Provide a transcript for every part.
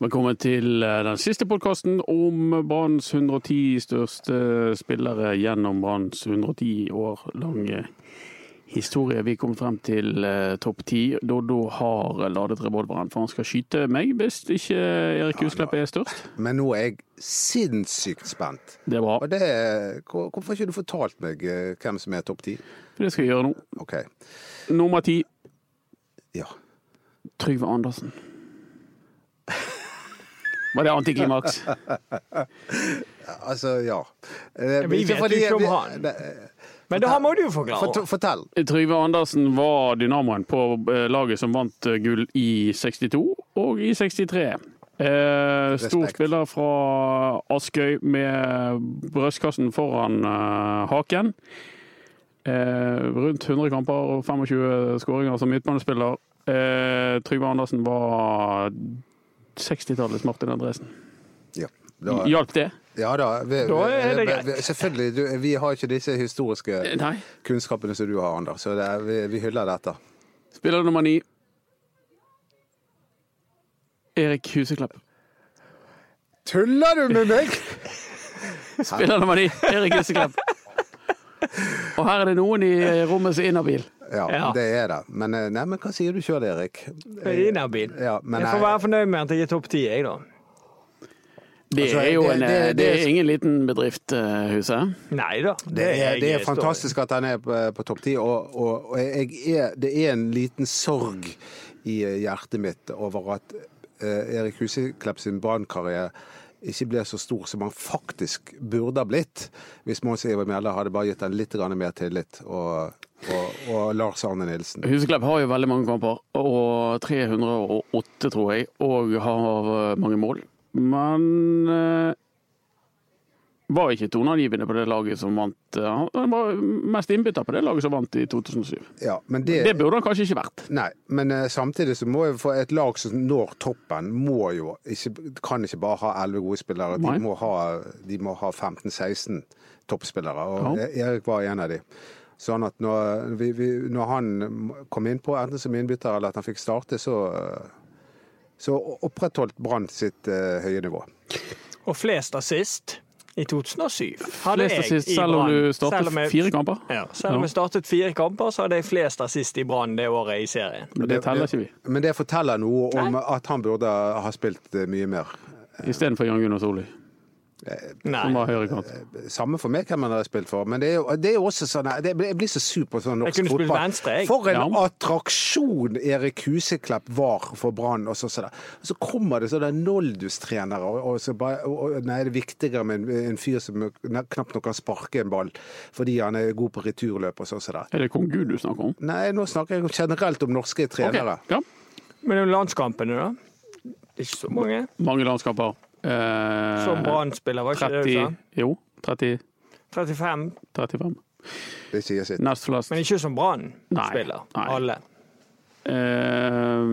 Velkommen til eh, den siste podkasten om Branns 110 største spillere gjennom Branns 110 år lange historie. Vi kom frem til eh, topp ti. Doddo har ladet revolveren, for han skal skyte meg hvis ikke Erik Husklepp er størst. Men nå er jeg sinnssykt spent. Det er bra. Og det er, hvor- Hvorfor har ikke du fortalt meg eh, hvem som er topp ti? For det skal jeg gjøre nå. OK. Nummer ti, Ja. Trygve Andersen. Var det antiklimaks? Altså, ja. Eh, Vi vet jo ikke om vi- han. Nei, eh, Men det her må du jo forklare. fort- Fortell. Trygve Andersen var dynamoen på eh, laget som vant eh, gull i 62 og i 63. Eh, stor Respekt. spiller fra Askøy med brystkassen foran eh, haken. Eh, rundt 100 kamper og 25 skåringer som midtbanespiller. Eh, Trygve Andersen var 60-tallets Martin Andresen. Ja. Da, ja. Hjalp det? da. Vi, Da er det vi- greit. Eh, vi- Selvfølgelig. Du, vi har ikke disse historiske Eh, Nei. kunnskapene som du har, Anders. Så det er, vi, vi hyller dette. Spiller nummer ni. Erik Huseklepp. Tuller du med meg?! Spiller nummer ni, Erik Huseklepp. Og her er det noen i rommet som er inhabil. Ja, Ja. det er det. Men, eh, nei, men hva sier du sjøl, Erik? Inabil. Ja, men Jeg får nei. være fornøyd med at jeg er topp ti, jeg, da. Det Altså, er jo det- en, eh, det- det det er er- ingen liten bedrift, eh, Huset. Nei da. Det er, det er jeg står i. fantastisk at han er på, på topp ti, og, og, og jeg er, det er en liten sorg i hjertet mitt over at eh, Erik Huseklepp sin brannkarriere ikke ble så stor som han faktisk burde ha blitt, hvis Mons Iver Mjelde hadde bare gitt han litt grann mer tillit, og, og, og Lars Arne Nilsen. Huseklepp har jo veldig mange kamper, og 308, tror jeg, og har eh, mange mål. Men eh, var ikke toneangivende på det laget som vant. eh, Han var mest innbytter på det laget som vant i 2007. Ja, men det, Eh, Det burde han kanskje ikke vært. Nei, men eh, samtidig så må jo for et lag som når toppen, må jo ikke, kan ikke bare ha 11 gode spillere. Nei. De må ha, de må ha 15-16 toppspillere, og Ja. E- Erik var en av de. Sånn at når, vi, vi, når han kom innpå, enten som innbytter eller at han fikk starte, så, eh, så opprettholdt Brann sitt eh, høye nivå. Og flest assist i 2007 hadde Flest jeg assist, i selv om Brann. du startet Selv om jeg- fire kamper. Ja, selv om Ja. jeg startet fire kamper, så hadde jeg flest assist i Brann det året i serien. Men det teller ikke vi. Men det forteller noe om at han burde ha spilt eh, mye mer. Istedenfor Jan Gunnar Solli, som Nei. var høyrekant. Samme for meg hvem han hadde spilt for, men det er jo, det er jo også sånn det, Jeg blir så sur på sånn norsk Jeg kunne spilt fotball. venstre, jeg. For en Ja. attraksjon Erik Huseklepp var for Brann. Og så, så, der. Og så kommer det sånne Noldus-trenere, og, og så bare og, og, Nei, det er viktigere med en, en fyr som knapt nok kan sparke en ball fordi han er god på returløp og sånn som der. Er det kong Gud du snakker om? Nei, nå snakker jeg generelt om norske trenere. Ok, Ja. Men det er jo landskampene, da. Det er ikke så mange. Mange landskamper. Eh, Som Brann-spiller, var ikke det du 30, sa? jo, 30, 35, 35. Det sier sitt. Nest flest. men ikke som Brann-spiller. Nei, nei. Alle. Eh,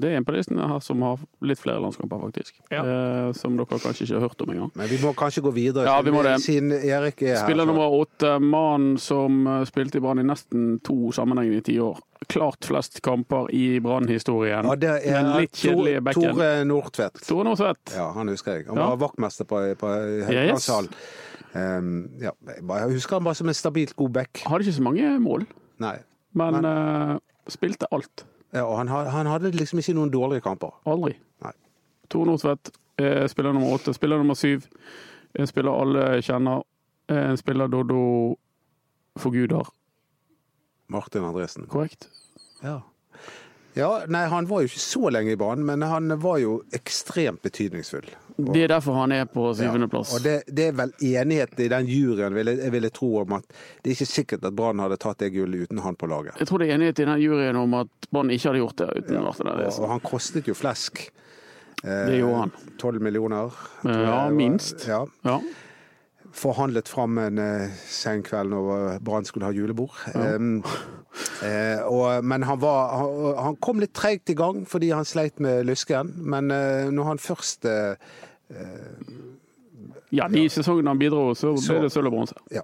det er en på listen her som har litt flere landskamper, faktisk. Ja. Eh, som dere kanskje ikke har hørt om engang. Men vi må kanskje gå videre, Ja, vi må det. siden Erik er her. Spiller nummer åtte, mannen som eh, spilte i Brann i nesten to sammenhengende tiår. Klart flest kamper i Brann-historien, ja, det er men litt kjedelig i bekken. Tore Nordtvedt. Tore Nordtvedt. Ja, han husker jeg. Han Ja. var vaktmester på, på Haukelandssalen. Ehm, ja, jeg bare- jeg husker han bare som en stabilt god back. Hadde ikke så mange mål, Nei. men, eh, spilte alt. Ja, og han, ha- han hadde liksom ikke noen dårlige kamper. Aldri. Nei. Tor Nordtvedt, eh, spiller nummer åtte. Spiller nummer syv. En spiller alle kjenner. En spiller Doddo forguder. Martin Andresen. Korrekt? Ja. ja. Nei, han var jo ikke så lenge i banen, men han var jo ekstremt betydningsfull. Det er derfor han er på syvendeplass. Og det, det er vel enighet i den juryen, vil jeg, jeg ville tro, om at det er ikke sikkert at Brann hadde tatt det gullet uten han på laget. Jeg tror det er enighet i den juryen om at Brann ikke hadde gjort det uten Martin Og, Andresen. og han kostet jo flesk. Det gjorde han. 12 millioner. Eh, Ja, minst. Ja. Ja. forhandlet fram en eh, sen kveld når Brann skulle ha julebord. Em, eh, og, men han, var, han, han kom litt treigt i gang fordi han sleit med lysken. Men eh, når han først eh, ja, de sesongene han bidro, så Så- Mm. ble det sølv og bronse. Ja.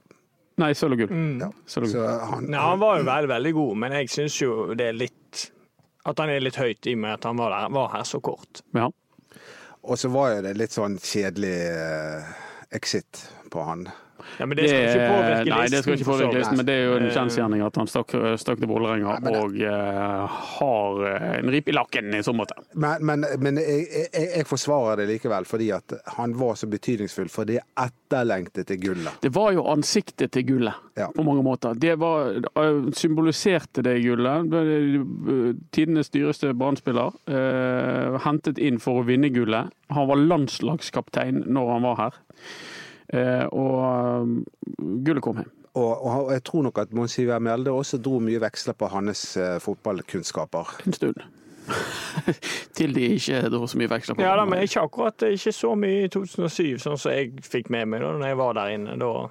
Nei, sølv og gull. ja, Sølv og så gull. han, Nei, han var jo veldig, veldig god, men jeg syns jo det er litt At han er litt høyt i og med at han var, der, var her så kort. Ja. Og så var jo det litt sånn kjedelig eh, exit på han. Ja, men det skal ikke påvirke listen. Nei, det skal ikke for så påvirke vidt. listen, men det er jo en Eh, kjensgjerning at han stakk, stakk til Vålerenga men det- og eh, har eh, en ripe i lakken i så måte. Men, men, men jeg, jeg, jeg forsvarer det likevel, fordi at han var så betydningsfull for det etterlengtede gullet. Det var jo ansiktet til gullet, Ja. på mange måter. Det var, eh, symboliserte det gullet. Ble- Tidenes dyreste Brann-spiller. eh, hentet inn for å vinne gullet. Han var landslagskaptein når han var her. Eh, og eh, gullet kom hjem. Og, og han- og jeg tror nok at Mons Iver Mjelde også dro mye veksler på hans eh, fotballkunnskaper. En stund. Til de ikke dro så mye veksler på Ja da, hverandre. men ikke akkurat eh, ikke så mye i 2007, sånn som jeg fikk med meg da når jeg var der inne. Da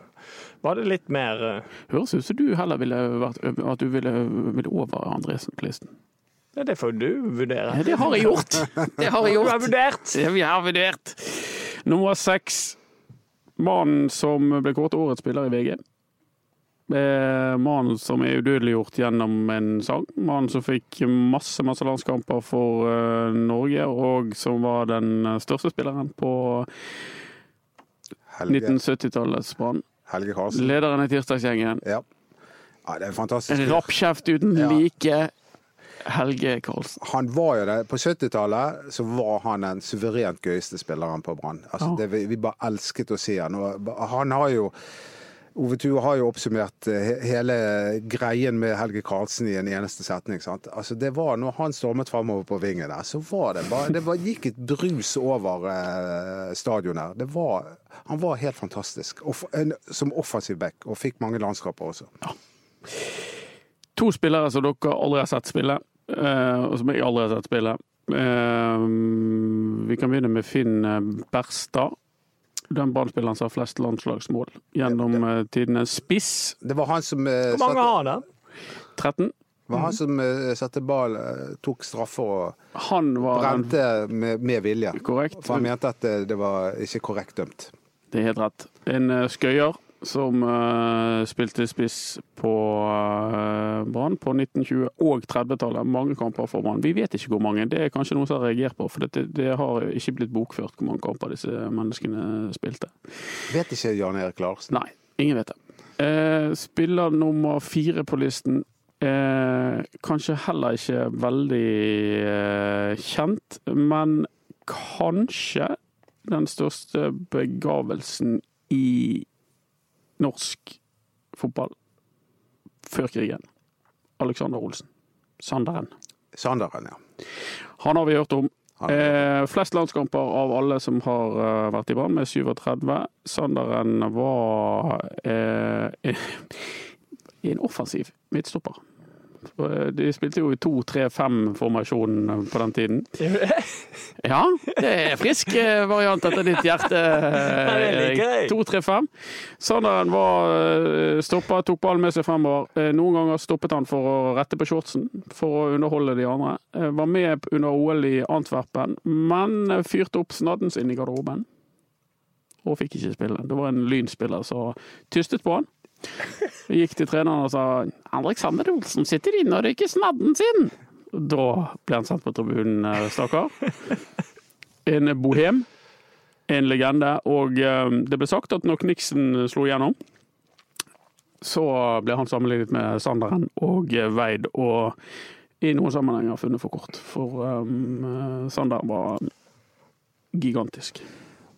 var det litt mer eh, Høres ut som du heller ville vært at du ville, ville over Andresen på listen. Ja, det får du vurdere. Ja, Det har jeg gjort! Det har jeg Du gjort. har vurdert! Det vi har vurdert. Nummer seks. Mannen som ble kåret til årets spiller i VG. Eh, Mannen som er udødeliggjort gjennom en sang. Mannen som fikk masse masse landskamper for eh, Norge, og som var den største spilleren på Helge, 1970-tallets Brann. Helge Karlsen. Lederen i tirsdagsgjengen. Ja. ja, det er fantastisk. En rappkjeft uten Ja. like. Helge Karlsen. han var jo det. På 70-tallet så var han den suverent gøyeste spilleren på Brann. Altså, Ja. det- vi, vi bare elsket å se han. Og han har jo Ove Tue har jo oppsummert eh, he- hele greien med Helge Karlsen i en eneste setning. Sant? Altså, det var når han stormet framover på vingen der, så var det bare Det bare gikk et brus over eh, stadionet. Det var, han var helt fantastisk. Off, en, som offensiv back, og fikk mange landskaper også. To spillere som dere aldri har sett spille, eh, og som jeg aldri har sett spille. Eh, vi kan begynne med Finn eh, Berstad. Den Brann-spilleren som har flest landslagsmål gjennom eh, tidene. Spiss Det var han som eh, Hvor mange satte- har det? 13. var han som eh, satte ball, eh, tok straffer og Han var den brente med, med vilje. korrekt. For han mente at eh, det, det var ikke korrekt dømt. Det er helt rett. En eh, skøyer som eh, spilte spiss på eh, Brann på 1920- og 30-tallet. Mange kamper for Brann. Vi vet ikke hvor mange. Det er kanskje noen som har reagert på, for det, det har ikke blitt bokført hvor mange kamper disse menneskene spilte. Vet ikke Jan Erik Larsen. Nei, ingen vet det. Eh, spiller nummer fire på listen. Eh, kanskje heller ikke veldig eh, kjent, men kanskje den største begavelsen i norsk fotball før krigen. Alexander Olsen. Sanderen. Sanderen, ja. Han har vi hørt om. Han- Eh, flest landskamper av alle som har eh, vært i Brann, med 37. Sanderen var eh, en offensiv midtstopper. Eh, De spilte jo i 2-3-5-formasjonen på den tiden. Ja, det er frisk eh, variant etter ditt hjerte. eh, det liker jeg. 2-3-5. Sanderen var eh, stoppa, tok ballen med seg fremover. Eh, Noen ganger stoppet han for å rette på shortsen for å underholde de andre. Eh, Var med under OL i Antwerpen, men fyrte opp snadden sin i garderoben. Og fikk ikke spille. Det var en lynspiller som tystet på han. Gikk til treneren og sa Alexander Olsen sitter inne og røyker snadden sin. Da ble han sendt på tribunen, eh, stakkar. En bohem, en legende. Og eh, det ble sagt at når Kniksen slo igjennom, så ble han sammenlignet med Sanderen og eh, Veid, og i noen sammenhenger funnet for kort. For eh, Sanderen var gigantisk.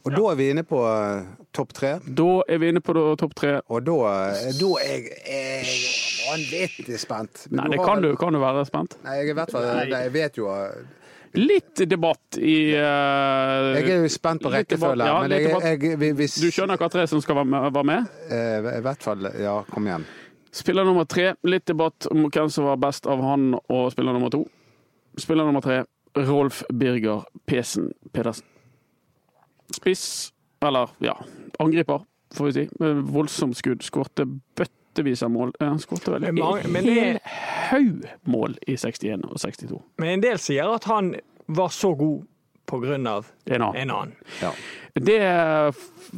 Og da er vi inne på eh, topp tre. Da er vi inne på da topp tre. Og da, eh, da er jeg, jeg vanvittig spent. Men Nei, du det har kan du, vel- kan du være spent. Nei, jeg, er i hvert fall, nei, jeg vet jo eh, Litt debatt i eh, Jeg er jo spent på Litt tilbake- rekkefølge, ja, men litt jeg, tilbake. jeg, vi- hvis Du skjønner hva tre som skal være med- være med? eh, I hvert fall Ja, kom igjen. Spiller nummer tre, litt debatt om hvem som var best av han og spiller nummer to. Spiller nummer tre, Rolf Birger Pesen Pedersen. Spiss, eller ja, angriper, får vi si. Med voldsomt skudd. Skårte bøttevis av mål. Eh, Han skårte vel Men en mange- men hel det- haug mål i 61 og 62. Men en del sier at han var så god på grunn av En annen. en annen. Ja. Det,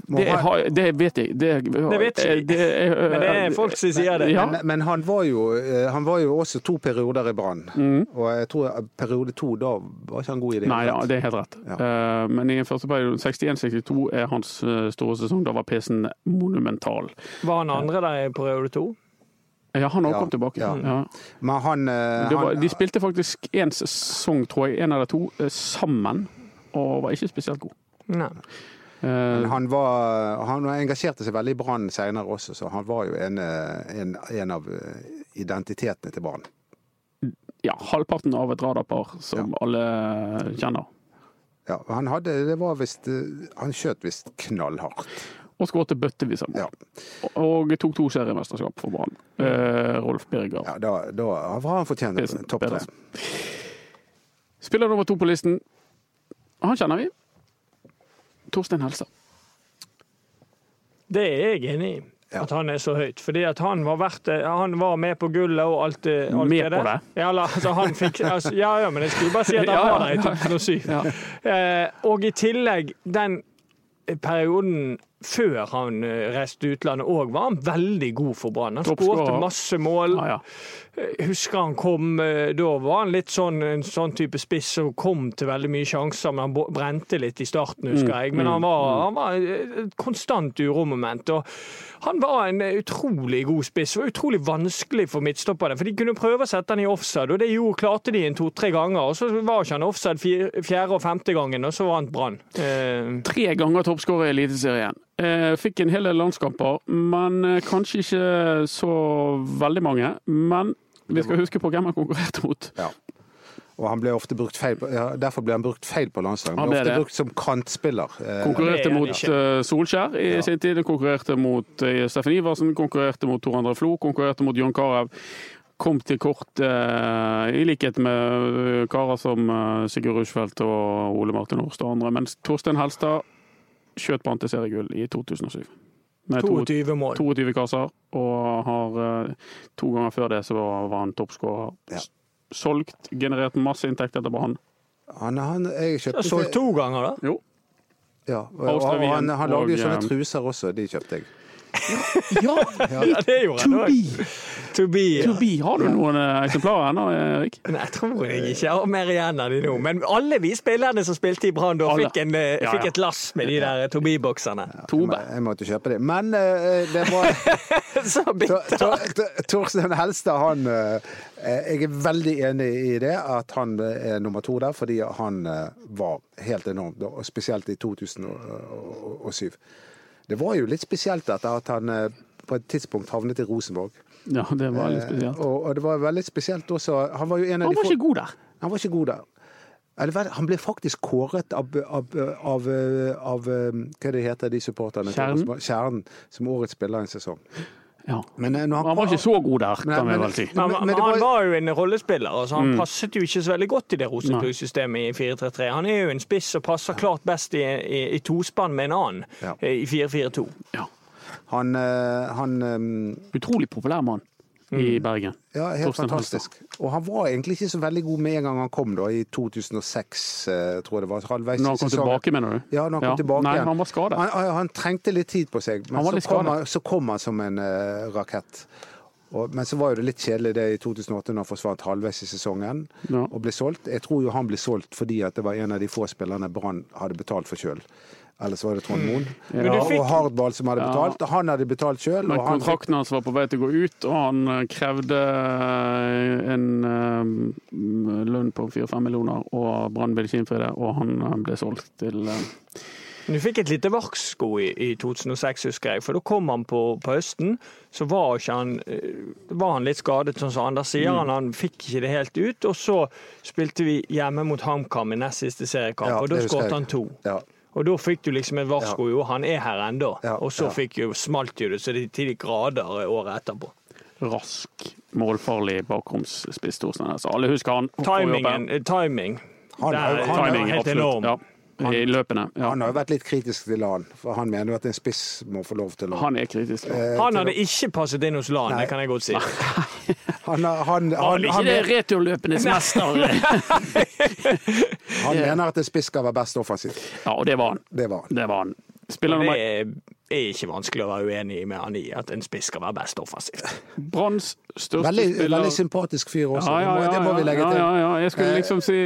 det, har- det vet jeg. Det, eh, Det vet ikke jeg. Men det er folk som sier det. Ja. Men, men han, var jo, eh, han var jo også to perioder i Brann. Og jeg tror at periode to, da var ikke han god i det. Mm. Nei, ja, det er helt rett. Ja. Eh, men i den første perioden, 61-62, er hans eh, store sesong. Da var PC-en monumental. Var han andre der i periode to? Ja, han òg Ja, kom tilbake. ja. Ja. Men han, eh, Det var, han de spilte faktisk én sesong, tror jeg, én eller to, eh, sammen, og var ikke spesielt god. Nei. Eh, Men han, var, han engasjerte seg veldig i Brann senere også, så han var jo en, eh, en, en av eh, identitetene til Brann. ja, halvparten av et radarpar som alle kjenner. Ja, han hadde, det var visst, eh, han skjøt visst knallhardt. Og skåret bøttevis av mål. Ja, Og tok to seriemesterskap for Brann. Eh, Rolf Birger. ja da, da var han fortjent Pedersen, topp tre. Pedersen. Spiller nummer to på listen. Han kjenner vi. Torstein Helstad. Det er jeg enig i. Ja. At han er så høyt. Fordi at han var, verdt, det. han var med på gullet og alt det alt Med på det? Ja, la- altså, han fikk, altså, ja, ja, men jeg skulle bare si at han Ja, ja, var der i 2007. Ja. Eh, og i tillegg, den perioden før han eh, reiste til utlandet òg, var han veldig god for Brann. Han Toppskårer. skårte masse mål. Ah, Ja, ja. Husker han kom eh, Da var han litt sånn en sånn type spiss som kom til veldig mye sjanser, men han bo- brente litt i starten, husker Mm, jeg. Men han var, han var eh, et konstant uromoment. Og han var en eh, utrolig god spiss. Det var utrolig vanskelig for midtstopperne, for de kunne prøve å sette han i offside, og det gjorde, klarte de en to-tre ganger. Og så var ikke han offside fir- fjerde og femte gangen, og så vant Brann. Eh, Tre ganger toppskårer i Eliteserien. Eh, Fikk en hel del landskamper, men eh, kanskje ikke så veldig mange. Men vi skal huske på hvem han konkurrerte mot. Ja. Og han ble ofte brukt feil på, ja, derfor ble han brukt feil på landslaget. Han Han ble ble ofte det. brukt som kantspiller. eh, Det er Konkurrerte han mot eh, Solskjær i Ja. sin tid, konkurrerte mot eh, Steffen Iversen, konkurrerte mot Tor André Flo, konkurrerte mot John Carew. Kom til kort, eh, i likhet med eh, karer som eh, Sigurd Rushfeldt og Ole Martin Horst og andre. Mens Torstein Helstad skjøt på seriegull i 2007. Med to- 22 mål. 22 kasser, og har eh, to ganger før det så var han toppskårer. Ja. S- Solgt, generert masse inntekter til Brann. Han, han, jeg kjøpte Solgt to ganger, da. Jo. Ja, og, og, Austrevien han, han lagde jo og, sånne eh, truser også, de kjøpte jeg. Ja, Ja, det gjorde han to òg. be! To be. To be. Har du noen eh, eksemplarer ennå, Erik? Nei, jeg tror jeg ikke jeg har mer igjen av de nå. Men alle vi spillerne som spilte i Brann da, Alle. fikk, en, eh, Ja, ja. fikk et lass med de der eh, Tobi-boksene. Jeg, må- Tobe. jeg måtte kjøpe det. Men eh, det var Så Tor- bitter. Tor- Tor- Torstein Helstad, han eh, Jeg er veldig enig i det, at han eh, er nummer to der, fordi han eh, var helt enorm, da, og spesielt i 2007. Det var jo litt spesielt dette, at han eh, på et tidspunkt havnet i Rosenborg. Ja, det var litt Eh, spesielt. Og, og det var veldig spesielt også Han var jo en av Han de var få- ikke god der. han var ikke god der. Eller vel, Han ble faktisk kåret av, av, av, av Hva det heter de supporterne? til Kjernen? Rosenborg? Kjernen. Som årets spiller en sesong. Ja. Men eh, når Han var ikke så god der, Nei, kan vi men- vel si. Men, men- men, men det var- han var jo en rollespiller, altså han passet jo ikke så veldig godt i det Rosenborg-systemet i 4-3-3. Han er jo en spiss som passer klart best i, i, i tospann med en annen Ja. eh, i 4-4-2. Ja. Han, eh, han eh, Utrolig populær mann i Bergen. Mm. Ja, helt Torstein fantastisk. Og han var egentlig ikke så veldig god med en gang han kom, da, i 2006, eh, tror jeg det var. Halvveis i Når han kom sesongen. tilbake, mener du? Ja, når han kom tilbake Nei, igjen. han var skadet. Han, han- han trengte litt tid på seg, men Han var så litt kom skadet. han, så kom han som en eh, rakett. Og, men så var jo det litt kjedelig det i 2008 når han forsvant halvveis i sesongen Ja. og ble solgt. Jeg tror jo han ble solgt fordi at det var en av de få spillerne Brann hadde betalt for sjøl. Ellers var det Trond Moen Men du og Hmm. fikk- Hardball som hadde Ja. betalt. Han hadde betalt sjøl. Men kontrakten hans var på vei til å gå ut, og han eh, krevde eh, en eh, lønn på 4-5 millioner, og Brann ville ikke innfri det, og han eh, ble solgt til eh, Men Du fikk et lite varsko i, i 2006, husker jeg. For da kom han på, på høsten. Så var, ikke han, eh, var han litt skadet, sånn som Anders sier. Mm. Han, han fikk ikke det helt ut. Og så spilte vi hjemme mot HamKam i nest siste seriekamp, Ja, og da det husker jeg. skåret han to. Ja. Og da fikk du liksom et varsko. Jo, han er her ennå. Ja, og så ja. fikk jo, smalt jo det så det til de grader året etterpå. rask, målfarlig bakromsspiss Torstein. Altså, alle husker han. Timingen, eh, timing. Han- Der- han- Timingen, helt absolutt. enorm. Ja. I løpene. Ja. Han har jo vært litt kritisk til LAN, for han mener jo at en spiss må få lov til å Han er kritisk. Eh, Han hadde ikke passet inn hos LAN, Nei. det kan jeg godt si. Han, han, han, han, Ikke det er returløpenes mester. han mener at en spiss skal være best offensivt. Ja, og det var han. Det var han. Det var han. Spiller Det nummer er er ikke vanskelig å være uenig med han i at en spiss skal være best offensivt. Branns største Veldig, spiller veldig sympatisk fyr også. Ja, ja, det, må, det må vi legge ja, til. ja, ja. Jeg skulle Eh, liksom si,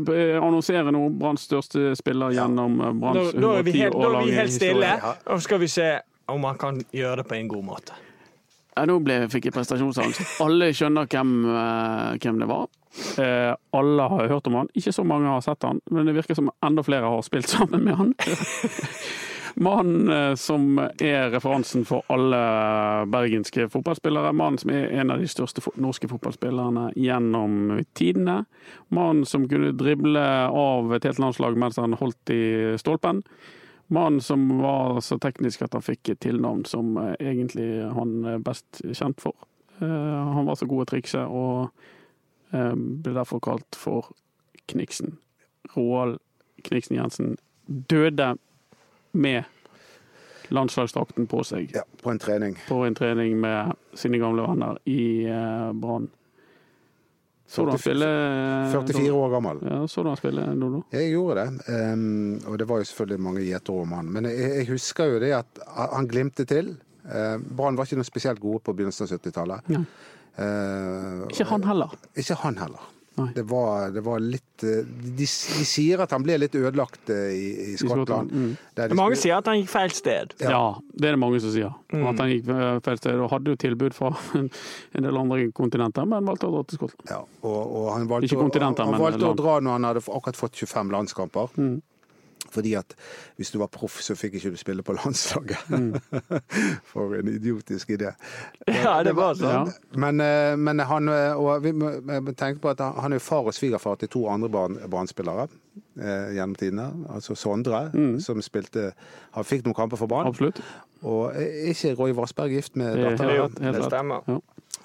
eh, annonsere noe Branns største spiller gjennom eh, Da, Branns da er vi 110 helt, år da er vi lange helt stille, historie. ja. og så skal vi se om han kan gjøre det på en god måte. Ja, nå ble, fikk jeg prestasjonsangst. Alle skjønner hvem, eh, hvem det var. Eh, alle har hørt om han. Ikke så mange har sett han, men det virker som enda flere har spilt sammen med han. Mannen eh, som er referansen for alle eh, bergenske fotballspillere. Mannen som er en av de største fo- norske fotballspillerne gjennom tidene. Mannen som kunne drible av et helt landslag mens han holdt i stolpen. Mannen som var så teknisk at han fikk et tilnavn som eh, egentlig han er best kjent for. Eh, Han var så god i trikset og eh, ble derfor kalt for Kniksen. Roald Kniksen Jensen døde med landslagsdrakten på seg Ja, på en trening. på en trening med sine gamle venner i eh, Brann. Så du han spille 44 år gammel. Ja, Eh, så du han spille, Dodo? Jeg gjorde det, ehm, og det var jo selvfølgelig mange gjetord om han. Men jeg, jeg husker jo det at han glimtet til. Eh, Brann var ikke noe spesielt gode på begynnelsen av 70-tallet. Nei. Eh, Ikke han heller. Ikke han heller. Nei. Det var, det var litt eh, de, de sier at han ble litt ødelagt eh, i, i Skottland, Skottland. mm. der de Mange spil- sier at han gikk feil sted. Ja. det er det mange som sier. At han gikk eh, feil sted. Og hadde jo tilbud fra en en del andre kontinenter, men valgte å dra til Skottland. ja, og, og han valgte, Ikke å- han, kontinenter, men valgte å land. Mm. dra når han hadde akkurat fått 25 landskamper. Fordi at hvis du var proff, så fikk ikke du spille på landslaget. For en idiotisk idé. Ja, det var Mm. Ja. sånn. Men, eh, men han eh, og vi må må tenke på at han- han er jo far og svigerfar til to andre barn- barnspillere eh, gjennom tidene. Altså Sondre, Mm. som spilte Han fikk noen kamper for barn. Absolutt. Og er ikke Roy Vassberg gift med Det er datteren? Jo, Helt rett. det stemmer. Ja.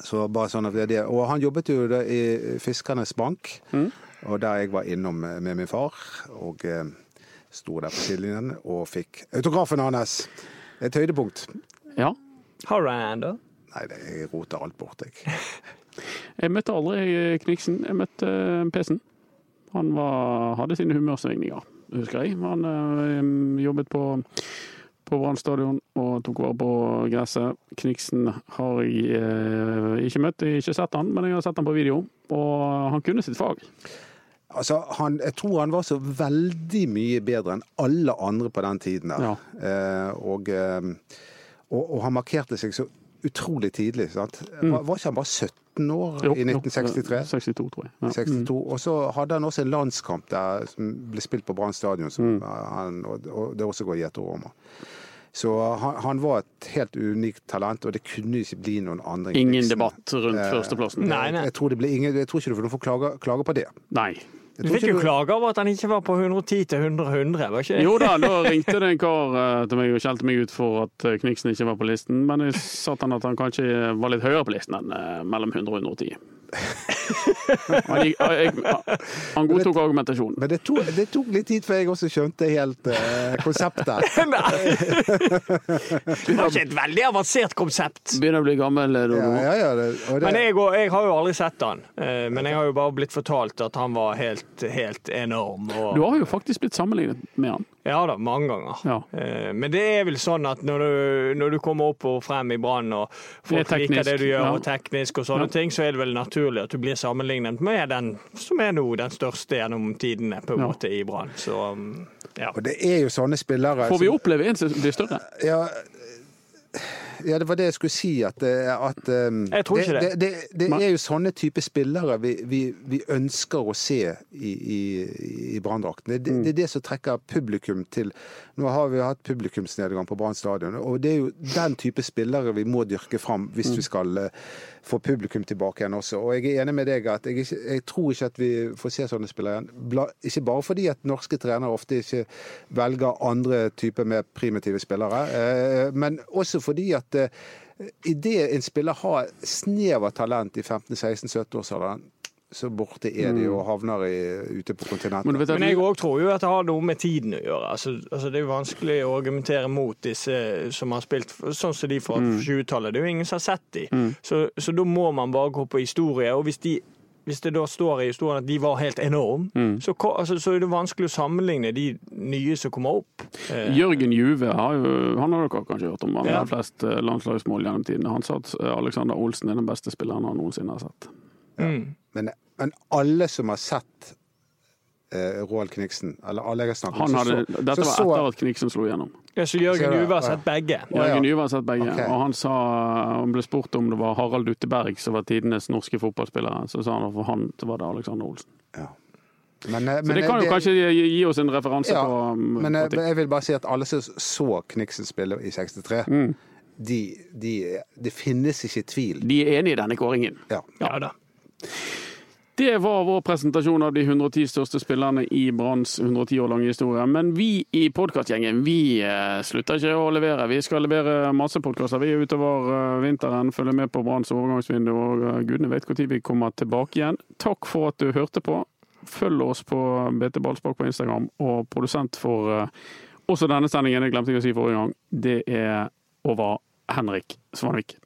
Så bare sånn at det er det. Og han jobbet jo da i Fiskernes Bank, Mm. og der jeg var innom eh, med min far. Og eh, sto der på sidelinjen og fikk autografen hans! Et høydepunkt. ja. Har du en, da? Nei, det, jeg roter alt bort, jeg. Jeg møtte aldri Kniksen. Jeg møtte eh, Pesen. Han var, hadde sine humørsvingninger, husker jeg. Han eh, jobbet på, på Brann stadion og tok vare på gresset. Kniksen har jeg eh, ikke møtt, jeg har ikke sett han, men jeg har sett han på video. Og han kunne sitt fag. Altså, han, jeg tror han var så veldig mye bedre enn alle andre på den tiden. Der. Ja. Eh, og, eh, og, og han markerte seg så utrolig tidlig. Sant? Var, var ikke han bare 17 år Mm. Jo, i jo, 1963? 62, tror jeg. Ja. Mm. 62, Og så hadde han også en landskamp der som ble spilt på Brann stadion, Mm. som eh, han- og, og det også går gjetord om. Så eh, han, han var et helt unikt talent, og det kunne ikke bli noen andre. enn Ingen Knudsen. debatt rundt Eh, førsteplassen. Nei, nei. Jeg tror, det ble ingen, jeg tror ikke du får noen for klage, klage på det. Nei. Jeg Du tror fikk ikke jo klage over at han ikke var på 110 til 100 100, var ikke det? Jo da, da ringte det en kar eh, til meg og skjelte meg ut for at eh, Kniksen ikke var på listen, men jeg sa til han at han kanskje eh, var litt høyere på listen enn eh, mellom 100 og 110. Han, gikk, eh, jeg, han godtok argumentasjonen. Men det tok, det tok litt tid før jeg også skjønte helt eh, konseptet. Nei. Det var ikke et veldig avansert konsept. Begynner å bli gammel, eh, Ja, Dodo. ja, ja, det, og det, Men jeg, og, jeg har jo aldri sett han. Eh, Men jeg har jo bare blitt fortalt at han var helt, helt enorm. Du Og, har jo faktisk blitt sammenlignet med han. ja da, mange ganger. Ja. Eh, Men det er vel sånn at når du, når du kommer opp og frem i Brann, og folk Det er teknisk, liker det du gjør, ja. og teknisk og sånne Ja. ting, så er det vel naturlig at du blir sammenlignet med den som er nå den største gjennom tidene, på en Ja. måte, i Brann. Så mm, ja. og det er jo sånne spillere Får vi som- oppleve en som blir større? Ja, eh, ja, det var det jeg skulle si. At, eh, at eh, Jeg tror ikke det, det. det, det, er jo sånne type spillere vi, vi, vi ønsker å se i, i, i Brann-drakten. Det, det, det er det som trekker publikum til Nå har vi hatt publikumsnedgang på Brann stadion, og det er jo den type spillere vi må dyrke fram hvis vi skal eh, få publikum tilbake igjen også. Og jeg er enig med deg at jeg, ikke, jeg tror ikke at vi får se sånne spillere igjen. Bla, ikke bare fordi at norske trenere ofte ikke velger andre typer mer primitive spillere, eh, men også fordi at eh, Idet en spiller har snev av talent i 15-16-17-årsalderen, så borte er de og havner i, ute på Mm. kontinentet. Men du vet at Men jeg vi, òg tror jo at det har noe med tiden å gjøre. Altså, altså Det er jo vanskelig å argumentere mot disse som har spilt sånn som de fra Mm. 20-tallet. Det er jo ingen som har sett de. Så, så da må man bare gå på historie. Og hvis, de, hvis det da står i historien at de var helt enorme, Mm. så, ko- altså, så er det vanskelig å sammenligne de nye som kommer opp. Eh, Jørgen Juve har jo, han har dere kanskje hørt om. Han Ja. har flest eh, landslagsmål gjennom tidene. Han sa at Alexander Olsen er den beste spilleren han noensinne har sett. mm. Men, men alle som har sett eh, Roald Kniksen, eller alle jeg har snakket Han så- hadde, så- dette var så- etter at Kniksen slo gjennom. ja, så Så altså, Jørgen det- Juve har sett begge. Ja, ja. Jørgen Juve har sett begge, Ok. og han, sa, han ble spurt om det var Harald Utteberg som var tidenes norske fotballspiller. Så sa han at for han så var det Alexander Olsen. Ja. Men, eh, Så men, det kan jo eh, kanskje gi, gi oss en referanse ja, på, um, men, eh, på ting. jeg vil bare si at alle som så Kniksen spille i 63, Mm. de, de, det finnes ikke tvil. De er enige i denne kåringen. Ja. Ja da. Det var vår presentasjon av de 110 største spillerne i Branns 110 år lange historie. Men vi i podkastgjengen vi eh, slutter ikke å levere. Vi skal levere masse podkaster utover eh, vinteren. Følg med på Branns overgangsvindu, og eh, gudene vet når vi kommer tilbake igjen. Takk for at du hørte på. Følg oss på BT Ballspark på Instagram, og produsent for eh, også denne sendingen, det glemte jeg å si forrige gang, det er over Henrik Svanvik.